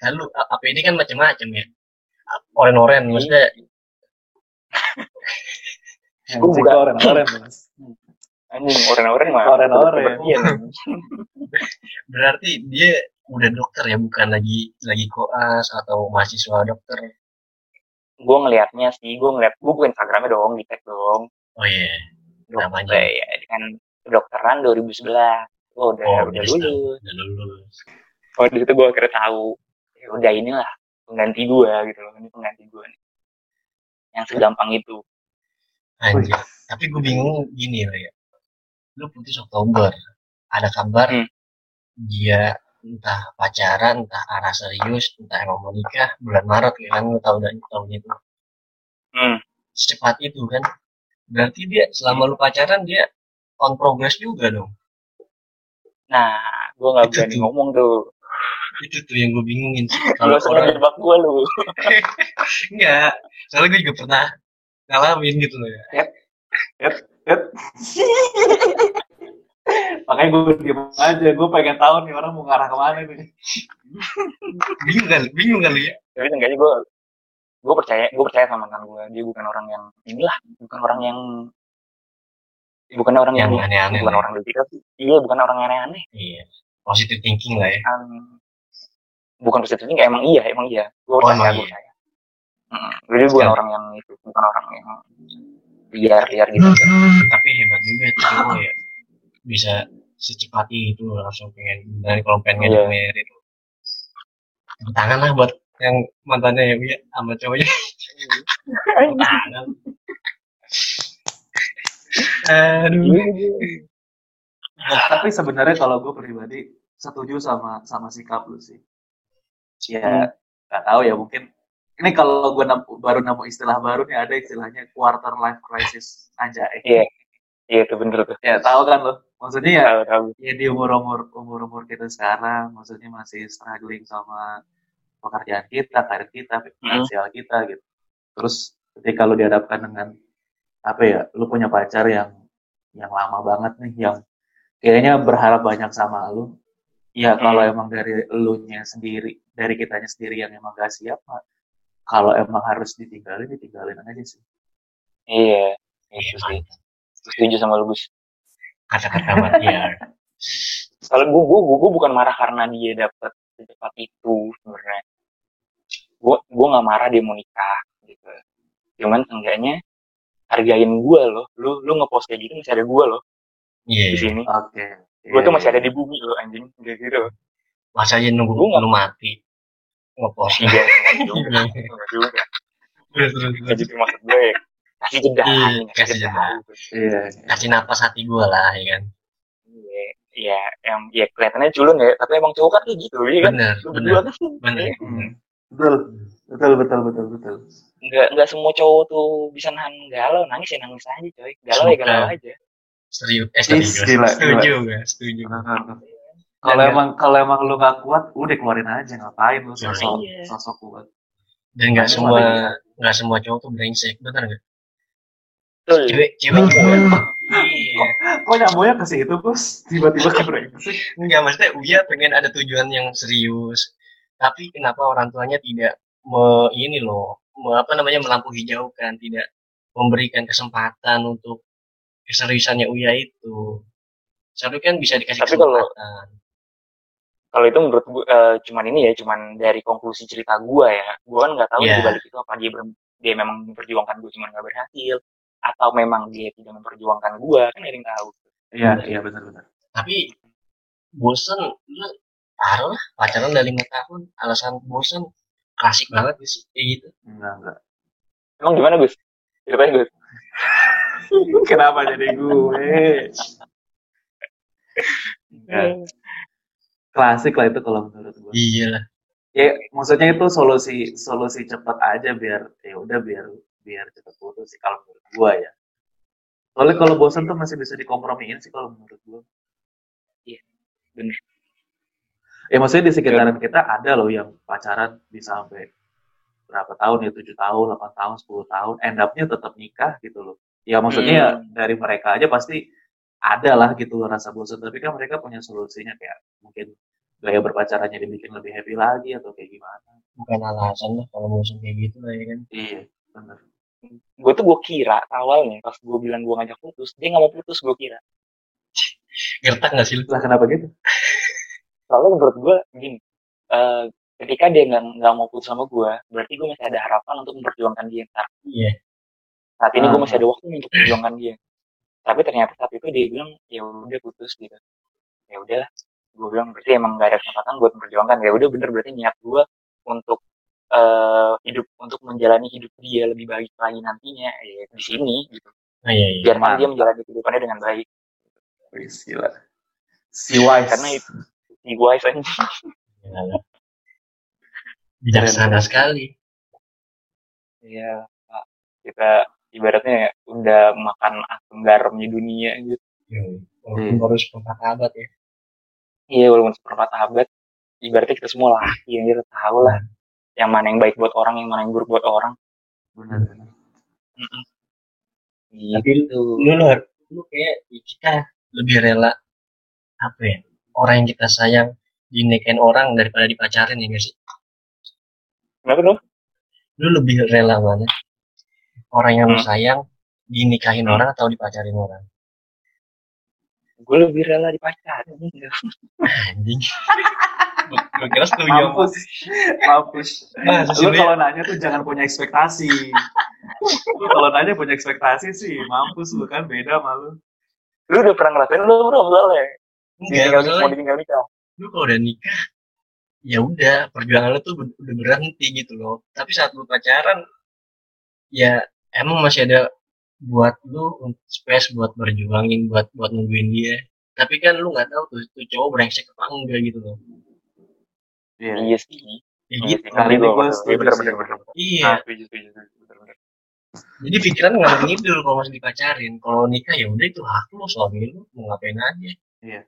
S2: Lalu apa ini kan macam-macam ya. Oren-oren maksudnya
S1: Gue buka oren-oren, Mas.
S3: Anjing, orang-orang mah.
S1: Oren-oren.
S2: Iya. Berarti dia udah dokter ya, bukan lagi lagi koas atau mahasiswa dokter.
S3: Gue ngelihatnya sih, gue ngeliat, gue buka Instagramnya dong, di tag dong.
S2: Oh iya. Namanya.
S3: Dokter, ya, dengan kedokteran 2011. Gue udah,
S2: Oh,
S3: udah
S2: udah
S3: lulus.
S2: Udah lulus.
S3: Oh, di situ gue akhirnya tahu. Ya udah inilah pengganti gue gitu loh, ini pengganti gue nih. Yang segampang itu.
S2: Anjir. Tapi gue bingung gini loh ya. Lu putus Oktober. Ada kabar
S3: Hmm.
S2: dia entah pacaran, entah arah serius, entah emang mau nikah bulan Maret ya kan lu tahu dan tahun itu.
S3: Hmm.
S2: Secepat itu kan. Berarti dia selama lu pacaran dia on progress juga dong.
S3: Nah, gue nggak
S2: Itu
S3: berani
S2: tuh.
S3: ngomong tuh.
S2: itu tuh yang gue bingungin sih
S3: Lu
S2: kalau
S3: soalnya
S2: orang
S3: jebak gue lu.
S2: enggak Iya, soalnya gue juga pernah ngalamin gitu loh ya
S1: Makanya gue diem aja, gue pengen tahu nih orang mau ngarah kemana nih.
S2: bingung kan bingung kan lu ya
S3: Tapi seenggaknya gue gue percaya gue percaya sama mantan gue dia bukan orang yang inilah bukan orang yang ya bukan orang yang,
S2: yang aneh-aneh
S3: bukan
S2: lah.
S3: orang detail sih iya bukan orang yang aneh-aneh
S2: iya positive thinking lah ya
S3: Um, bukan positif thinking emang iya emang iya gue
S2: Oh,
S3: percaya
S2: emang
S3: gue
S2: iya.
S3: percaya Mm, jadi bukan
S2: Sekali.
S3: orang yang itu bukan orang yang liar-liar gitu
S2: Hmm. tapi hebat juga cowok ya bisa secepat itu langsung pengen dari kalau pengen
S3: Iya.
S2: yeah. itu Tepuk tangan lah buat yang mantannya ya Bu, ya sama cowoknya Tepuk tangan aduh
S1: Tapi sebenarnya kalau gue pribadi setuju sama sama sikap lu sih. Ya, nggak tahu ya mungkin. Ini kalau gue nam- baru nemu istilah baru nih ada istilahnya quarter life crisis anjay.
S3: Iya. iya itu bener tuh
S1: Ya tahu kan lo? Maksudnya ya
S3: tahu tahu
S1: ya di umur umur umur umur kita sekarang maksudnya masih struggling sama pekerjaan kita karir kita
S3: Hmm.
S1: finansial kita gitu terus ketika lu dihadapkan dengan apa ya lu punya pacar yang yang lama banget nih yang kayaknya berharap banyak sama lu ya kalau
S3: Hmm.
S1: emang dari elunya sendiri dari kitanya sendiri yang emang gak siap mah, kalau emang harus ditinggalin ditinggalin aja sih
S3: iya itu sih setuju sama lu Gus
S2: kata-kata ya. matiar
S3: Soalnya gue, gue, gue, bukan marah karena dia dapet secepat itu sebenarnya. Gue, gue nggak marah dia mau nikah gitu. Cuman seenggaknya hargain gue loh. Lu, lu ngepost kayak gitu masih ada gue loh
S2: iya
S3: di
S2: iya.
S3: sini.
S1: oke
S3: Gue tuh
S1: Iya,
S3: masih
S1: iya.
S3: ada di bumi loh anjing kayak gitu.
S2: masa aja nunggu
S3: Gua nggak-
S2: lu mati ngepost
S3: Iya, nggak juga, nggak juga.
S2: terus terus
S3: Nggak gitu maksud gue. ya. Kasih jeda,
S2: Iya,
S3: anjing,
S2: kasih jeda.
S1: iya
S2: kasih napas hati gue lah ya kan
S3: Iya, iya, em, iya kelihatannya culun ya. Tapi emang cowok kan kayak gitu, iya kan?
S2: bener
S3: Lu
S2: bener
S3: berdua kan
S2: bener ya?
S1: Hmm. betul betul betul betul betul
S3: nggak nggak semua cowok tuh bisa nahan galau, nangis ya nangis aja coy. Galau ya galau aja.
S2: serius eh
S1: Is,
S2: serius
S1: gila,
S2: setuju gue setuju
S1: Kalau
S2: Dan-
S1: emang kalau emang lu gak kuat, udah keluarin aja ngapain lu sosok
S3: Iya.
S1: sosok kuat.
S2: dan nggak
S1: Tapi
S2: semua
S1: ada yang-
S2: nggak semua cowok tuh brengsek bener nggak
S3: Betul.
S2: cewek cewek
S1: Iya.
S2: juga kan? iya
S1: Kok nyambungnya ke situ, Bos? Tiba-tiba ke brengsek.
S2: nggak maksudnya Uya pengen ada tujuan yang serius tapi kenapa orang tuanya tidak me, ini loh me- apa namanya melampu hijaukan tidak memberikan kesempatan untuk keseriusannya Uya itu satu kan bisa dikasih
S3: Tapi kalau-
S2: kesempatan
S3: kalau itu menurut gue eh, cuman ini ya cuman dari konklusi cerita gue ya gue kan nggak tahu
S2: Iya.
S3: di balik itu apa dia ber- dia memang memperjuangkan gue cuman nggak berhasil atau memang dia tidak memperjuangkan gue kan nggak ada yang tahu
S1: Iya, iya benar-benar.
S2: tapi bosen lu taruh lah pacaran udah lima tahun alasan bosen klasik banget sih kayak gitu
S1: Enggak, enggak.
S3: emang gimana Gus ceritanya Gus
S1: Kenapa jadi gue? Enggak.
S3: Iya.
S1: Klasik lah itu kalau menurut gue.
S2: iyalah
S1: Ya, maksudnya itu solusi solusi cepat aja biar ya udah biar biar cepat putus sih kalau menurut gua ya. Soalnya kalau bosan tuh masih bisa dikompromiin sih kalau menurut gua.
S3: Iya, bener. Iya.
S1: Ya maksudnya di sekitaran kita ada loh yang pacaran bisa sampai berapa tahun ya tujuh tahun, 8
S3: Hmm.
S1: tahun, 10 tahun, end up-nya tetap nikah gitu loh. Ya maksudnya ya dari mereka aja pasti ada lah gitu rasa bosan tapi kan mereka punya solusinya kayak mungkin gaya berpacarannya dibikin lebih happy lagi atau kayak gimana
S2: bukan alasan lah kalau bosan kayak gitu lah ya kan
S1: iya bener
S3: gue tuh gue kira awalnya pas gue bilang gue ngajak putus dia nggak mau putus gue kira
S2: gertak nggak sih lu?
S1: lah kenapa gitu
S3: soalnya menurut gue gini eh, ketika dia nggak nggak mau putus sama gue berarti gue masih ada harapan untuk memperjuangkan dia ntar
S2: iya
S3: saat ini gue
S1: Ah.
S3: masih ada waktu untuk memperjuangkan dia tapi ternyata saat itu dia bilang ya udah putus gitu ya udahlah gue bilang berarti emang gak ada kesempatan buat memperjuangkan ya udah bener berarti niat gue untuk eh, hidup untuk menjalani hidup dia lebih baik lagi nantinya ya di sini gitu
S2: ah, iya iya
S3: biar dia menjalani kehidupannya dengan baik
S1: Wih, gila si wise
S3: karena itu di gue aja
S2: Iya lah. bijaksana sekali
S3: Iya, Pak. kita ibaratnya udah makan asam garamnya dunia gitu.
S2: Yoi.
S1: Hmm.
S2: Iya, walaupun baru seperempat abad ya
S3: Iya, walaupun seperempat abad, ibaratnya kita semua laki yang kita tahu lah yang mana yang baik buat orang, yang mana yang buruk buat orang.
S1: bener bener
S3: Gitu.
S2: tapi lu lu, lu, lu kayak kita lebih rela apa ya orang yang kita sayang dinikahin orang daripada dipacarin ya guys
S3: Kenapa dong?
S2: lu lebih rela mana orang yang lu
S3: Hmm.
S2: sayang dinikahin
S3: Hmm.
S2: orang atau dipacarin orang
S3: Gue lebih rela dipacarin.
S2: anjing gue kira setuju sama
S1: mampus mampus
S2: Nah,
S1: lu
S2: sesungguhnya-
S1: kalau nanya tuh jangan punya ekspektasi lu kalau nanya punya ekspektasi sih mampus lu kan beda malu
S3: Lu udah pernah ngerasain lu belum soalnya?
S2: Iya, enggak
S3: Ditinggal-
S2: masalahnya
S3: mau ditinggal nikah.
S2: lu kalau udah nikah ya udah perjuangan lu tuh ber- udah berhenti gitu loh tapi saat lu pacaran ya emang masih ada buat lu un- space buat berjuangin buat buat nungguin dia tapi kan lu nggak tahu tuh tuh cowok brengsek apa enggak gitu loh
S1: iya
S3: Iya sih.
S2: ya
S3: Iya
S2: gitu
S3: sih.
S1: Kali ini
S3: Gua-
S1: gua
S3: iya,
S1: setuju
S3: bener
S1: sih.
S3: bener bener.
S2: iya
S3: Ah, setuju, setuju, setuju. Bener, bener.
S2: jadi pikiran nggak ada ngidul kalau masih dipacarin kalau nikah ya udah itu hak lu suami lu mau ngapain aja
S1: Iya.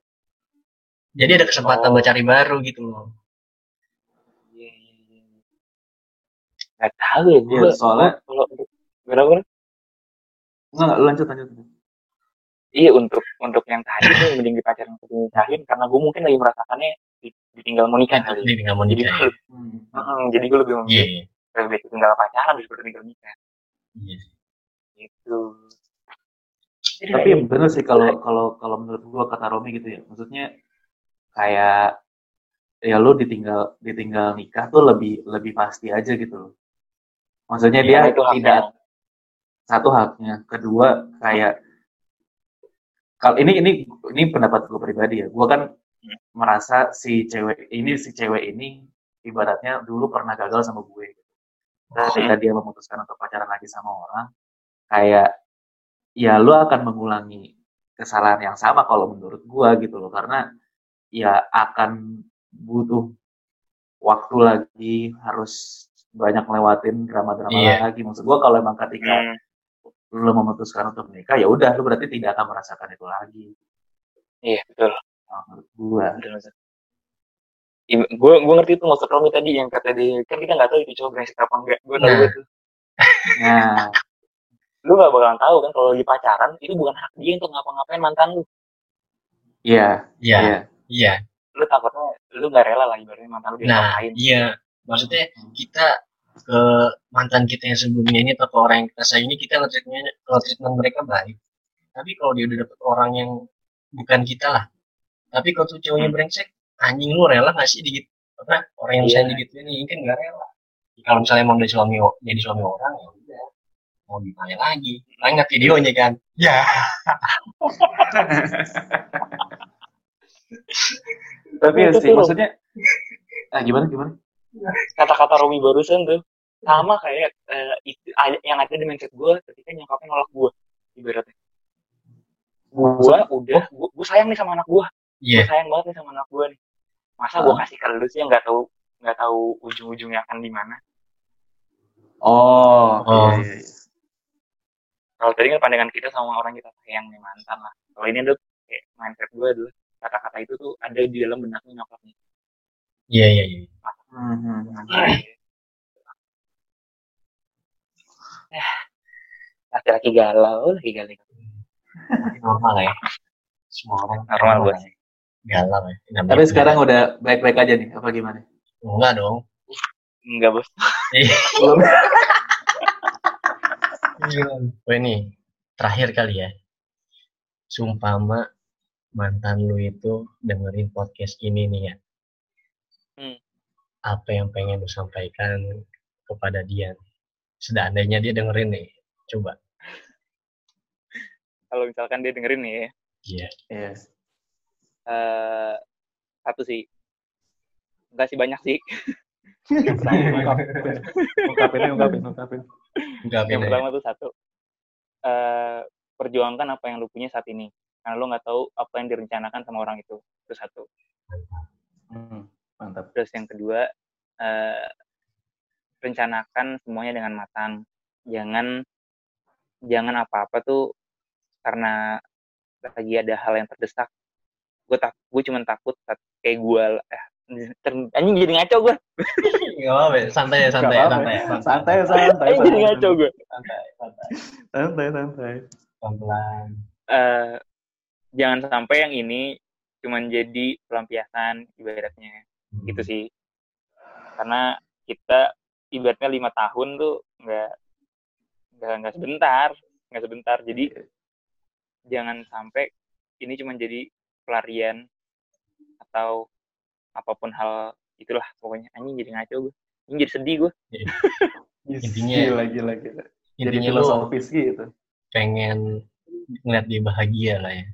S2: jadi ada kesempatan
S3: Oh.
S2: buat cari baru gitu loh
S3: Iya, iya, iya. Nggak tahu ya gue.
S1: Iya, soalnya-
S3: kalau berapa
S1: Enggak, enggak, lanjut lanjut Hmm.
S3: Iya untuk untuk yang tadi tuh mending dipacarin ke nikahin karena gue mungkin lagi merasakannya di- ditinggal mau nikah Iya, kali.
S2: jadi nggak mau
S3: Jadi
S2: nikah
S3: gue
S2: ya.
S3: lebih, Mm, jadi gue lebih
S2: iya
S3: memilih lebih baik tinggal pacaran daripada tinggal nikah
S2: iya
S3: gitu.
S1: tapi bener sih kalau kalau kalau menurut gua kata Romi gitu ya maksudnya kayak ya lu ditinggal ditinggal nikah tuh lebih lebih pasti aja gitu loh maksudnya
S3: Karena
S1: dia
S3: Iya, ya, itu haknya. Mm,
S1: tidak satu haknya kedua kayak kalau ini ini ini pendapat gue pribadi ya gue kan merasa si cewek ini si cewek ini ibaratnya dulu pernah gagal sama gue ketika dia memutuskan untuk pacaran lagi sama orang kayak ya lu akan mengulangi kesalahan yang sama kalau menurut gue gitu loh karena ya akan butuh waktu lagi harus banyak lewatin drama-drama
S2: Iya.
S1: lagi maksud gue kalau emang ketika
S3: Hmm,
S1: lu memutuskan untuk menikah ya udah lu berarti tidak akan merasakan itu lagi
S3: iya betul.
S1: Nah, menurut gua
S3: Gue gue Iya, ngerti tuh maksud Romi tadi yang kata dia kan kita nggak tahu itu cowok brengsek apa enggak. Gue tahu
S2: Nah.
S3: itu.
S1: nah
S3: Lu gak bakalan tahu kan kalau lagi pacaran itu bukan hak dia untuk ngapa-ngapain mantan lu.
S1: iya
S2: iya
S1: iya
S2: iya
S3: Lu takutnya lu gak rela lah ibaratnya mantan lu
S2: Nah,
S3: diapain.
S2: iya. Maksudnya
S1: Hmm.
S2: kita ke mantan kita yang sebelumnya ini atau ke orang yang kita sayangi kita nge-treatnya treatment mereka baik. Tapi kalau dia udah dapet orang yang bukan kita lah. Tapi kalau tuh
S1: Hmm.
S2: cowoknya brengsek, anjing lu rela gak sih digit apa orang yang
S3: Iya.
S2: sayang digituin ini kan gak rela. Kalau misalnya emang dari suami jadi suami orang ya udah mau gimana lagi. Banyak videonya kan. Ya.
S4: Nah,
S1: tapi ya
S3: Itu
S1: sih
S3: tuh.
S1: maksudnya ah, gimana gimana
S3: kata-kata Romi barusan tuh sama kayak eh, itu- a- yang ada di mindset gue ketika nyokapnya nolak gue ibaratnya gue udah gue, sayang nih sama anak gue
S2: Iya.
S3: sayang banget nih sama anak gue nih masa gue kasih ke lu sih yang nggak tahu nggak tahu ujung-ujungnya akan di mana
S1: oh,
S2: Oh.
S1: Iya, iya, iya.
S3: kalau tadi kan pandangan kita sama orang kita sayang nih mantan lah kalau ini tuh kayak mindset gue dulu kata-kata itu tuh ada di dalam benaknya nyokapnya
S2: Iya iya iya.
S1: Hmm, hmm,
S4: Nah,
S1: hmm.
S3: Eh, laki-laki galau lagi galau
S2: Normal lah ya. semua orang
S3: normal gue sih
S2: galau ya Namanya
S1: Tapi
S2: juga.
S1: sekarang udah baik-baik aja nih, apa gimana?
S2: enggak dong
S3: enggak bos
S1: Belum.
S2: Gue nih Oh, terakhir kali ya. Sumpama mantan lu itu dengerin podcast ini nih ya.
S3: Hmm.
S2: Apa yang pengen lu sampaikan kepada dia? Seandainya dia dengerin nih, coba.
S3: kalau misalkan dia dengerin nih ya,
S2: Iya.
S1: Iya.
S3: eh, satu sih enggak sih banyak sih
S4: Ungkapin, ungkapin, ungkapin.
S2: Enggak beda. ya.
S3: yang pertama tuh satu eh, perjuangkan apa yang lu punya saat ini karena lu nggak tahu apa yang direncanakan sama orang itu itu satu
S4: Hmm, Mantap.
S3: terus yang kedua eh, rencanakan semuanya dengan matang jangan jangan apa-apa tuh karena lagi ada hal yang terdesak gue tak gue cuman takut saat- kayak gue eh, ter- anjing jadi ngaco gue
S2: Enggak apa-apa, ya. santai ya, santai, ya,
S4: Nggak apa-apa.
S2: santai, ya,
S4: Santai, santai.
S3: anjing jadi ngaco gue
S2: santai, santai,
S4: Santai, santai.
S2: pelan-pelan.
S3: eh, jangan sampai yang ini cuman jadi pelampiasan ibaratnya gitu sih karena kita ibaratnya lima tahun tuh nggak nggak nggak sebentar nggak sebentar jadi jangan sampai ini cuma jadi pelarian atau apapun hal itulah pokoknya anjing jadi ngaco gue anjing jadi sedih gue
S4: Yes,
S2: Intinya- ya.
S4: Gila, gila, gila. Jadi
S2: Intinya lu
S4: filosofis gitu.
S2: pengen ngeliat dia bahagia lah ya.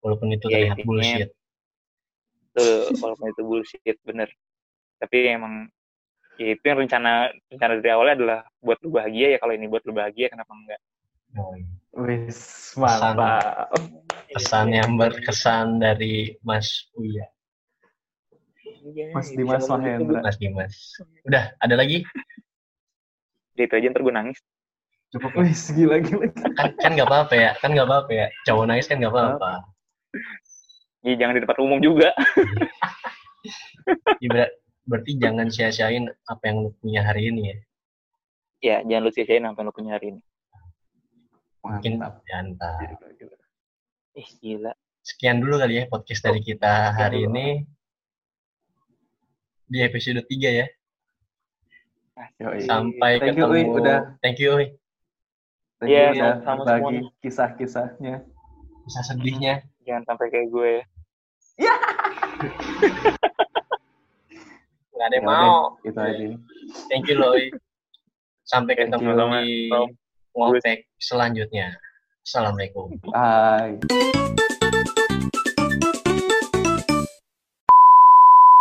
S2: Walaupun
S4: Iya,
S2: itu
S3: Ya,
S2: terlihat
S3: intinya-
S2: bullshit.
S3: tuh walaupun itu bullshit bener tapi emang ya itu yang rencana rencana dari awalnya adalah buat lu bahagia ya kalau ini buat lu bahagia kenapa enggak
S2: Oh, iya.
S4: Wis, mantap.
S2: pesan yang berkesan dari Mas Uya,
S3: Iya,
S4: Mas
S3: ya
S4: Dimas
S3: bisa ngomong gitu,
S4: Mahendra.
S2: Mas Dimas. Udah, ada lagi?
S3: Bu. Dia itu aja ntar gue nangis
S4: Cukup. Wis, gila, gila.
S2: Kan kan nggak apa-apa ya, kan nggak apa-apa ya. Cowok nangis kan nggak apa-apa.
S3: Iya jangan di tempat umum juga.
S2: Ya, ber- berarti jangan sia-siain apa yang lu punya hari ini ya.
S3: Ya, jangan lu sia-siain apa yang lu punya hari ini.
S2: Mungkin
S4: Mantap.
S2: ya, entah.
S4: Gila, gila.
S3: Ih, gila.
S2: Sekian dulu kali ya podcast dari kita hari ini di episode 3 ya.
S4: Yoi.
S2: Sampai
S4: Iya, Thank you,
S2: ketemu.
S4: Uy, udah.
S2: Thank you. Uy.
S4: Thank
S3: Iya,
S4: you udah
S3: sama-sama
S4: bagi
S3: semuanya.
S4: kisah-kisahnya.
S2: Bisa sedihnya.
S3: Jangan sampai kayak gue. ya.
S2: Nggak ada yang
S4: Ya udah,
S2: mau.
S4: Itu
S3: Iya.
S4: aja.
S2: Thank you loh. Uy. Sampai
S3: Thank
S2: ketemu
S3: you, Tama.
S2: di
S3: Tama.
S2: ngotek selanjutnya. Assalamualaikum.
S4: Bye.